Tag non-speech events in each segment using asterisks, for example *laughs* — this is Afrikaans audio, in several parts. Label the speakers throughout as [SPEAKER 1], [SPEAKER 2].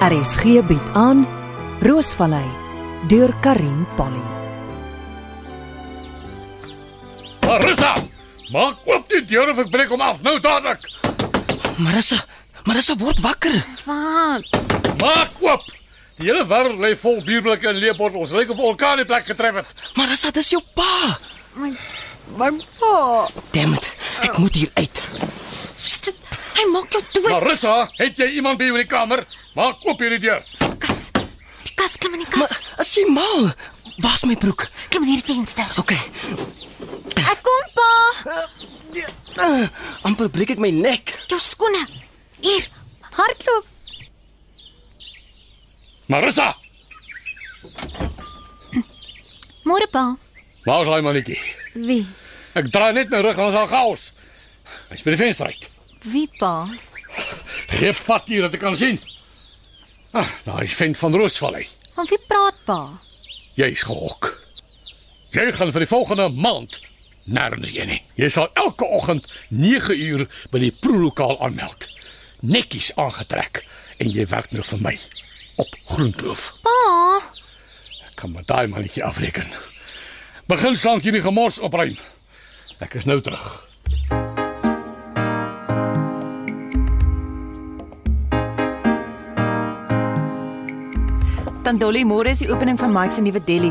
[SPEAKER 1] RSG bied aan Roosvallei deur Karim Polly.
[SPEAKER 2] Marissa, maak oop die deur of ek breek hom af nou dadelik.
[SPEAKER 3] Marissa, Marissa word wakker.
[SPEAKER 4] Wat?
[SPEAKER 2] Maak oop. Die hele wêreld lê vol bierblikke en leebottels. Lyk of 'n orkaan die plek getref het.
[SPEAKER 3] Marissa, dis jou pa.
[SPEAKER 4] My my pa.
[SPEAKER 3] Damn it. Ek moet hier uit.
[SPEAKER 4] Sst, hy maak jou dood.
[SPEAKER 2] Marissa, het jy iemand by jou in die kamer? Maak oop hierdie deur.
[SPEAKER 4] Kas. Die kas klim in die
[SPEAKER 3] Maar
[SPEAKER 4] kas.
[SPEAKER 3] as jy mal, waar's my broek?
[SPEAKER 4] klim in die venster.
[SPEAKER 3] OK.
[SPEAKER 4] Ek kom pa.
[SPEAKER 3] Uh, amper breek ek my nek.
[SPEAKER 4] Jou skoene. Hier. Hardloop.
[SPEAKER 2] Marissa,
[SPEAKER 4] Môre pa.
[SPEAKER 2] waar's daai mannetjie?
[SPEAKER 4] Wie?
[SPEAKER 2] Ek draai net my rug aan sy chaos. Hy's by die venster uit.
[SPEAKER 4] Wie pa?
[SPEAKER 2] Gee pad hier dat ek kan sien. Ah, daai vent van Roosvallei.
[SPEAKER 4] Van wie praat pa?
[SPEAKER 2] Jy's gehok. Jy gaan vir die volgende maand nêrens heen nie. Jy sal elke oggend 9 uur by die proelokaal aanmeld. Netjies aangetrek en jy werk nou vir my op Groenkloof.
[SPEAKER 4] Pa.
[SPEAKER 2] Ek kan met daai mannetjie afreken. Begin sank hierdie gemors opruim. Ek is nou terug.
[SPEAKER 5] Tandoli, môre is die opening van Mike se nuwe deli.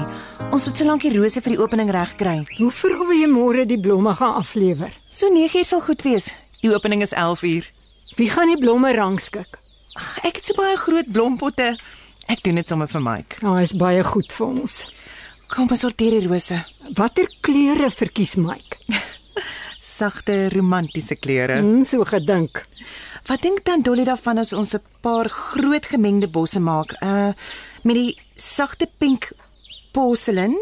[SPEAKER 5] Ons moet solank die rose vir die opening reg kry.
[SPEAKER 6] Hoe vroeg wil jy môre die blomme gaan aflewer?
[SPEAKER 5] So 9uur sal goed wees. Die opening is 11uur.
[SPEAKER 6] Wie gaan die blomme rangskik?
[SPEAKER 5] Ek het so baie groot blompotte. Ek doen dit sommer vir Mike.
[SPEAKER 6] Daar Nou, is baie goed vir ons.
[SPEAKER 5] Kom ons sorteer die rose.
[SPEAKER 6] Watter kleure verkies Mike?
[SPEAKER 5] Sagte, romantiese kleure.
[SPEAKER 6] Hm, so gedink.
[SPEAKER 5] Wat dink Tandoli daarvan as ons 'n paar groot gemengde bosse maak? Uh met die sagte pink porselein,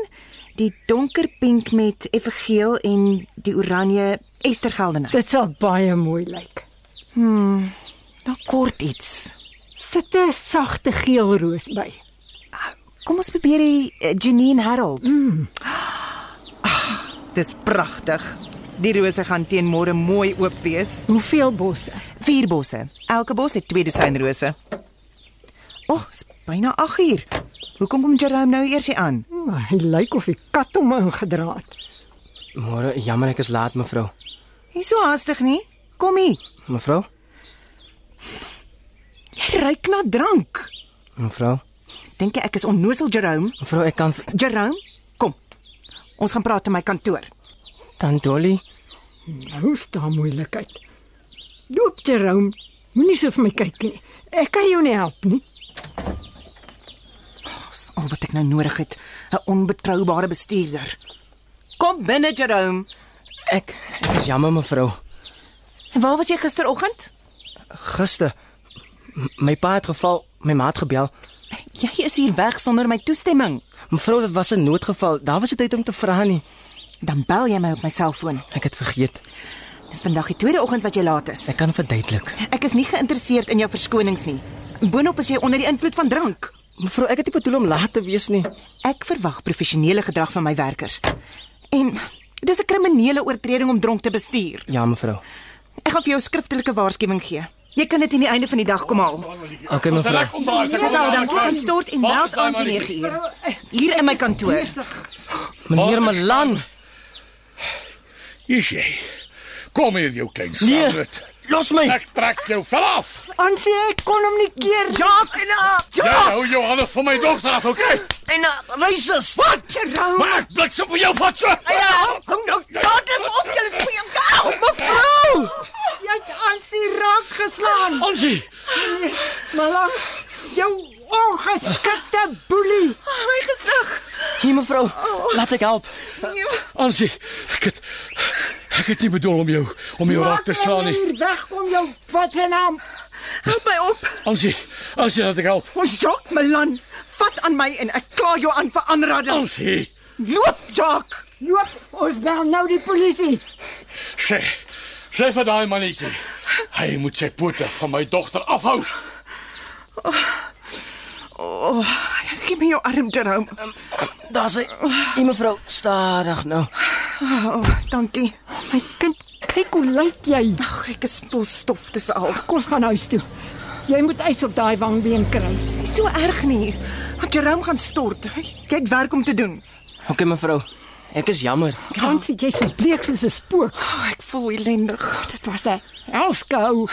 [SPEAKER 5] die donker pink met effegeel en die oranje estergeldenheid.
[SPEAKER 6] Dit sal baie mooi lyk.
[SPEAKER 5] Daar kort iets.
[SPEAKER 6] Sit 'n sagte geel roos by.
[SPEAKER 5] Kom ons probeer die eh, Janine Harold. Mm. Ah, dis pragtig. Die rose gaan teen môre mooi oop wees.
[SPEAKER 6] Hoeveel bosse?
[SPEAKER 5] Vier bosse. Elke bos het twee dosyn rose. O, oh, is byna 8 uur. Hoekom kom Jerome nou eers hier aan?
[SPEAKER 6] Hm, hy lyk of die kat hom ingedra het.
[SPEAKER 3] Môre, jammer ek is laat, mevrou.
[SPEAKER 5] Nie so haastig nie. Kom hier.
[SPEAKER 3] Mevrou?
[SPEAKER 5] Jy ruik na drank.
[SPEAKER 3] Mevrou?
[SPEAKER 5] Dink jy ek is onnosel Jerome?
[SPEAKER 3] Mevrou, ek kan
[SPEAKER 5] Jerome, kom. Ons gaan praat in my kantoor.
[SPEAKER 3] Tandoli.
[SPEAKER 6] Nou staan moeilikheid. Loop Jerome, moenie so vir my kyk nie. Ek kan jou nie help nie.
[SPEAKER 5] Dis al wat ek nou nodig het, 'n onbetroubare bestuurder. Kom binne Jerome.
[SPEAKER 3] Ek ek is jammer, mevrou.
[SPEAKER 5] En waar was jy gisteroggend?
[SPEAKER 3] Gister m- my pa het geval, my ma het gebel.
[SPEAKER 5] Jy is hier weg sonder my toestemming.
[SPEAKER 3] Mevrou, dit was 'n noodgeval. Daar was nie tyd om te vra nie.
[SPEAKER 5] Dan bel jy my op my selfoon.
[SPEAKER 3] Ek het vergeet.
[SPEAKER 5] Dis vandag die tweede oggend wat jy laat is.
[SPEAKER 3] Ek kan verduidelik.
[SPEAKER 5] ek is nie geïnteresseerd in jou verskonings nie. Boonop is jy onder die invloed van drank.
[SPEAKER 3] Mevrou, ek het nie bedoel om laat te wees nie.
[SPEAKER 5] Ek verwag professionele gedrag van my werkers. En dis 'n kriminele oortreding om dronk te bestuur.
[SPEAKER 3] Ja, mevrou.
[SPEAKER 5] Ek gaan vir jou 'n skriftelike waarskuwing gee. Jy kan dit aan die einde van die dag kom haal.
[SPEAKER 3] Okay,
[SPEAKER 2] Sy
[SPEAKER 3] mevrou.
[SPEAKER 2] rek omdraai. sy kom
[SPEAKER 5] Jy sal
[SPEAKER 2] omdraai.
[SPEAKER 5] dan kan stort en
[SPEAKER 2] Waar is
[SPEAKER 5] meld
[SPEAKER 2] daai
[SPEAKER 5] aan teen
[SPEAKER 2] mannetjie?
[SPEAKER 5] 9 uur. Hier in my kantoor.
[SPEAKER 3] Meneer Malan.
[SPEAKER 2] Hier is jy. Kom hier jou klein slaaprit.
[SPEAKER 3] Nee, Los my.
[SPEAKER 2] Ek trek jou vanaf.
[SPEAKER 6] Ansie, ek kon hom nie keer.
[SPEAKER 3] Jacques en ah,
[SPEAKER 2] Jy hou jou hande van my dogter af, okay?
[SPEAKER 3] en ah, racist. Wat?
[SPEAKER 6] Jerome,
[SPEAKER 2] Maar ek bliksem vir jou vat so.
[SPEAKER 3] hou nou dadelik op julle twee. Au, mevrou.
[SPEAKER 6] jy het Ansie raak geslaan.
[SPEAKER 2] Onsie,
[SPEAKER 6] Malang, jou ongeskikte boelie.
[SPEAKER 5] My gesig.
[SPEAKER 3] Hier mevrou, laat ek help.
[SPEAKER 2] Onsie, ek het ek het nie bedoel om jou om jou raak te slaan nie.
[SPEAKER 6] nou Hier wegkom jou wat se naam.
[SPEAKER 5] Help my op.
[SPEAKER 2] Onsie, Onsie, laat ek help.
[SPEAKER 5] Ons Jock Milan, vat aan my en ek kla jou aan vir aanrading.
[SPEAKER 2] Onsie,
[SPEAKER 5] Loop, Jock.
[SPEAKER 6] Loop, ons bel nou die polisie.
[SPEAKER 2] sê sê vir daai mannetjie. Hy moet sy pote van my dogter afhou.
[SPEAKER 5] Gee my jou arm, Jerome.
[SPEAKER 3] Daar's hy. Hier mevrou, stadig nou.
[SPEAKER 5] O, oh, dankie.
[SPEAKER 6] My kind, kyk hoe lyk jy.
[SPEAKER 5] Ag, ek is vol stof dis al.
[SPEAKER 6] Kom ons gaan huis toe. Jy moet ys op daai wangbeen kry.
[SPEAKER 5] Dis nie so erg nie. Want Jerome gaan stort. Jy het werk om te doen.
[SPEAKER 3] OK mevrou. Ek is jammer.
[SPEAKER 6] Kansie, jy's so bleek soos 'n spook.
[SPEAKER 5] Oh, ek voel ellendig.
[SPEAKER 6] Dit was 'n helskou.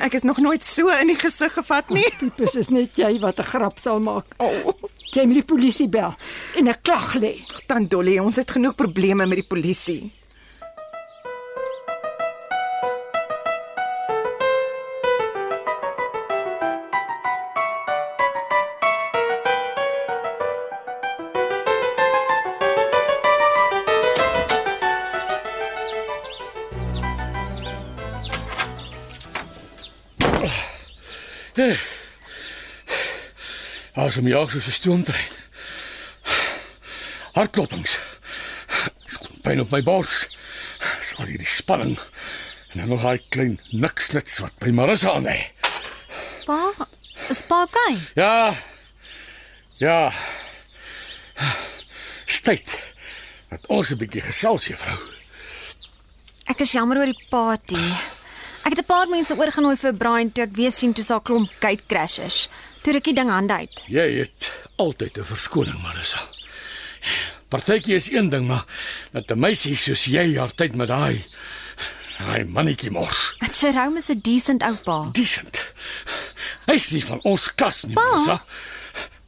[SPEAKER 5] Ek is nog nooit so in die gesig gevat nie.
[SPEAKER 6] Tipes is net jy wat 'n grap sal maak.
[SPEAKER 5] O, oh,
[SPEAKER 6] Jy moet die polisie bel en 'n klag lê.
[SPEAKER 5] tant Oh, Dolly, ons het genoeg probleme met die polisie.
[SPEAKER 2] As om jag soos 'n stoomtrein. Hartklopings. Skoon pyn op my bors. Dis al hierdie spanning. En dan nog daai klein nikslits wat by Marissa aan lê.
[SPEAKER 4] Pa, is pa okay?
[SPEAKER 2] Ja. Ja. Styt. Dat ons 'n bietjie gesels, juffrou.
[SPEAKER 4] Ek is jammer oor die party. Ek het 'n paar mense oorgenooi vir Brian toe ek weer sien toe sa klomp gatecrashers. Toe rukkie ding hande uit.
[SPEAKER 2] Jy het altyd 'n verskoning, Marissa. Partytjie is een ding, maar dat 'n meisie soos jy haar tyd met daai daai mannetjie mors.
[SPEAKER 4] Maar Jerome is 'n decent ou pa.
[SPEAKER 2] Decent. Hy's nie van ons klas nie, Marissa.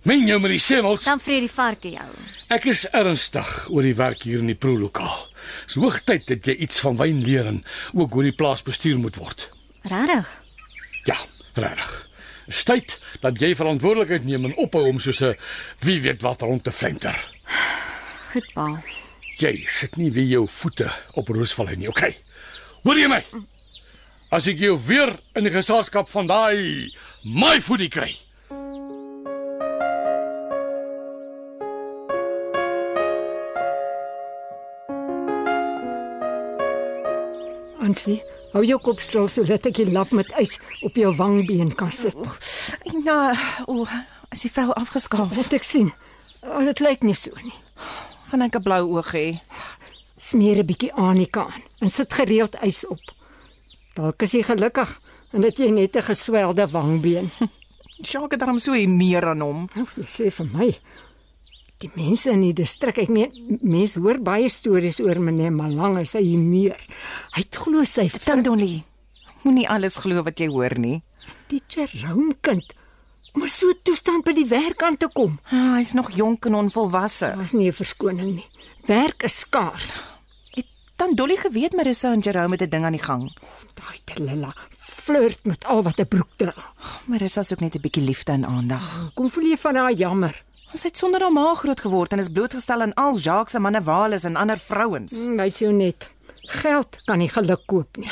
[SPEAKER 2] Meen jou met die semmels?
[SPEAKER 4] Dan vreet die varkie jou.
[SPEAKER 2] Ek is ernstig oor die werk hier in die proelokaal. Dis hoogtyd dat jy iets van wyn leer en ook hoe die plaas bestuur moet word.
[SPEAKER 4] Regtig?
[SPEAKER 2] Ja, regtig. Dis tyd dat jy verantwoordelikheid neem en ophou om soos 'n wie weet wat rond te flinter.
[SPEAKER 4] Goed pa.
[SPEAKER 2] Jy sit nie weer jou voete op roosvallei nie, okay? Hoor jy my? As ek jou weer in die geselskap van daai my voetie kry.
[SPEAKER 6] Ansie, hou jou kop stil sodat ek die lap met ys op jou wangbeen kan sit.
[SPEAKER 5] Ina, eh, o, as die vel afgeskaaf,
[SPEAKER 6] Wat ek sien, oh, dit lyk nie so nie.
[SPEAKER 5] gaan ek 'n blou oog hê.
[SPEAKER 6] Smeer 'n bietjie anika aan en sit gereeld ys op. Dalk is jy gelukkig en dit jy net 'n geswelde wangbeen. *laughs*
[SPEAKER 5] Jacques het daarom so hier meer aan hom.
[SPEAKER 6] Nou, jy sê vir my, die mense in die distrik, ek meen mense hoor baie stories oor meneer Malang en sy humeur. Hy het glo sy
[SPEAKER 5] Tant
[SPEAKER 6] vind
[SPEAKER 5] Dolly, moenie alles glo wat jy hoor nie.
[SPEAKER 6] die Jerome kind om in so 'n toestand by die werk aan te kom.
[SPEAKER 5] Ah, Hy's nog jonk en onvolwasse.
[SPEAKER 6] Daar's nie 'n verskoning nie. Werk is skaars.
[SPEAKER 5] Het Tant Dolly geweet Marissa en Jerome het 'n ding aan die gang.
[SPEAKER 6] Daai Delila flirt met al wat 'n broek dra.
[SPEAKER 5] Marissa soek net 'n bietjie liefde en aandag.
[SPEAKER 6] Kom voel jy van haar jammer?
[SPEAKER 5] Sy het sonder haar ma groot geword en is blootgestel aan al Jacques se mannewales en ander vrouens. *laughs*
[SPEAKER 6] Hm, Wys jou net. Geld kan nie geluk koop nie.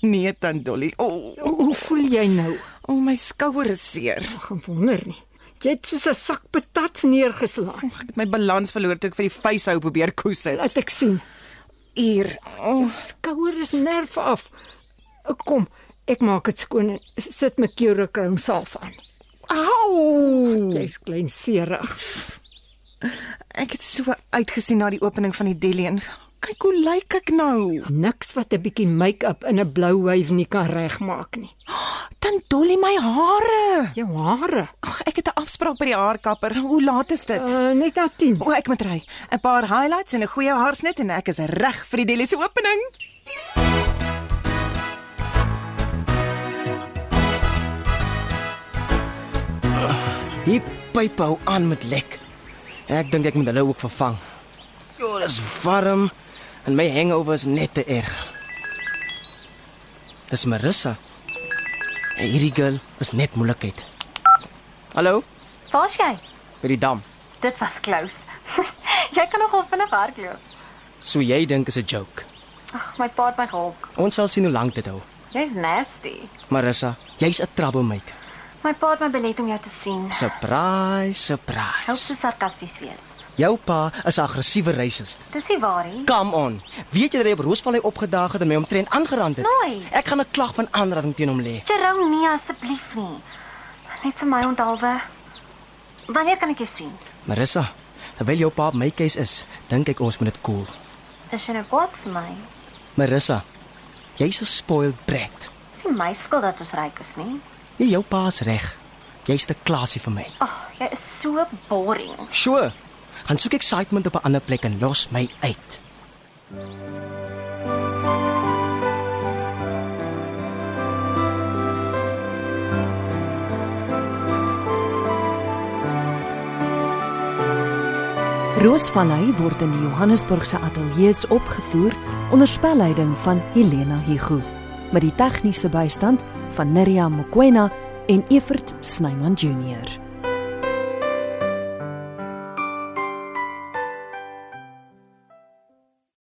[SPEAKER 5] nee, Tant Dolly. O, oh,
[SPEAKER 6] Hoe, hoe voel jy nou?
[SPEAKER 5] oh, my skouer is seer.
[SPEAKER 6] Ek gaan wonder nie. Jy het soos 'n sak patats neergeslaan.
[SPEAKER 5] Ek het my balans verloor toe ek vir die vyshou probeer koes het.
[SPEAKER 6] Laat ek sien.
[SPEAKER 5] Hier. Oh,
[SPEAKER 6] skouer is nerf af. Kom, ek maak dit skoon en sit my keurkroon salf aan.
[SPEAKER 5] au!
[SPEAKER 6] Jy's klein seerig.
[SPEAKER 5] Ek het so uitgesien na die opening van die deli en kyk hoe lyk ek nou.
[SPEAKER 6] Niks wat 'n bietjie make-up in 'n blou wyf nie kan regmaak nie.
[SPEAKER 5] Dan dolly my hare.
[SPEAKER 6] Jou hare.
[SPEAKER 5] Ag, ek het 'n afspraak by die haarkapper. Hoe laat is dit?
[SPEAKER 6] Uh, net na 10.
[SPEAKER 5] O, ek moet ry. 'n Paar highlights en 'n goeie haarsnit en ek is reg vir die deli se opening.
[SPEAKER 3] Die pype hou aan met lek. Ek dink ek moet hulle ook vervang. Jo, dit is warm en my hangover is net te erg. Dis Marissa. En Hierdie girl is net moeilikheid. Hallo,
[SPEAKER 7] Waar's jy?
[SPEAKER 3] by die dam.
[SPEAKER 7] Dit was close. *laughs* jy kan nogal vinnig hardloop.
[SPEAKER 3] So jy dink is 'n joke.
[SPEAKER 7] Ag, my pa het my gehelp.
[SPEAKER 3] Ons sal sien hoe lank dit hou.
[SPEAKER 7] Jy's nasty.
[SPEAKER 3] Marissa, jy's 'n troublemaker.
[SPEAKER 7] My pa het my belet om jou te sien.
[SPEAKER 3] Surprise,
[SPEAKER 7] Hou
[SPEAKER 3] surprise.
[SPEAKER 7] so sarkasties wees.
[SPEAKER 3] Jou pa is 'n aggressiewe racist.
[SPEAKER 7] Dis nie waar nie.
[SPEAKER 3] Come on. Weet jy dat hy op Roosvallei opgedaag het en my omtrent aangerand het?
[SPEAKER 7] Nooi.
[SPEAKER 3] Ek gaan 'n klag van aanranding teen hom lê.
[SPEAKER 7] Jerome nie asseblief nie. Net vir my onthaalwe. Wanneer kan ek jou sien?
[SPEAKER 3] Marissa, terwyl jou pa op my keuse is, dink ek ons moet dit koel. Cool.
[SPEAKER 7] Dis jy nou kwaad vir my?
[SPEAKER 3] Marissa, jy's 'n spoiled brat.
[SPEAKER 7] Dis nie nie my skuld dat ons ryk is nie.
[SPEAKER 3] Jy jou pa's reg. Jy's te klasie vir my.
[SPEAKER 7] Ag, oh, jy is so boring.
[SPEAKER 3] Sure. Gaan soek excitement op 'n ander plek en los my uit.
[SPEAKER 1] Roosvallei word in die Johannesburgse ateljees opgevoer onder spelleiding van Helena Hugo met die tegniese bystand van Neriya Mkwena en Evert Snyman Junior.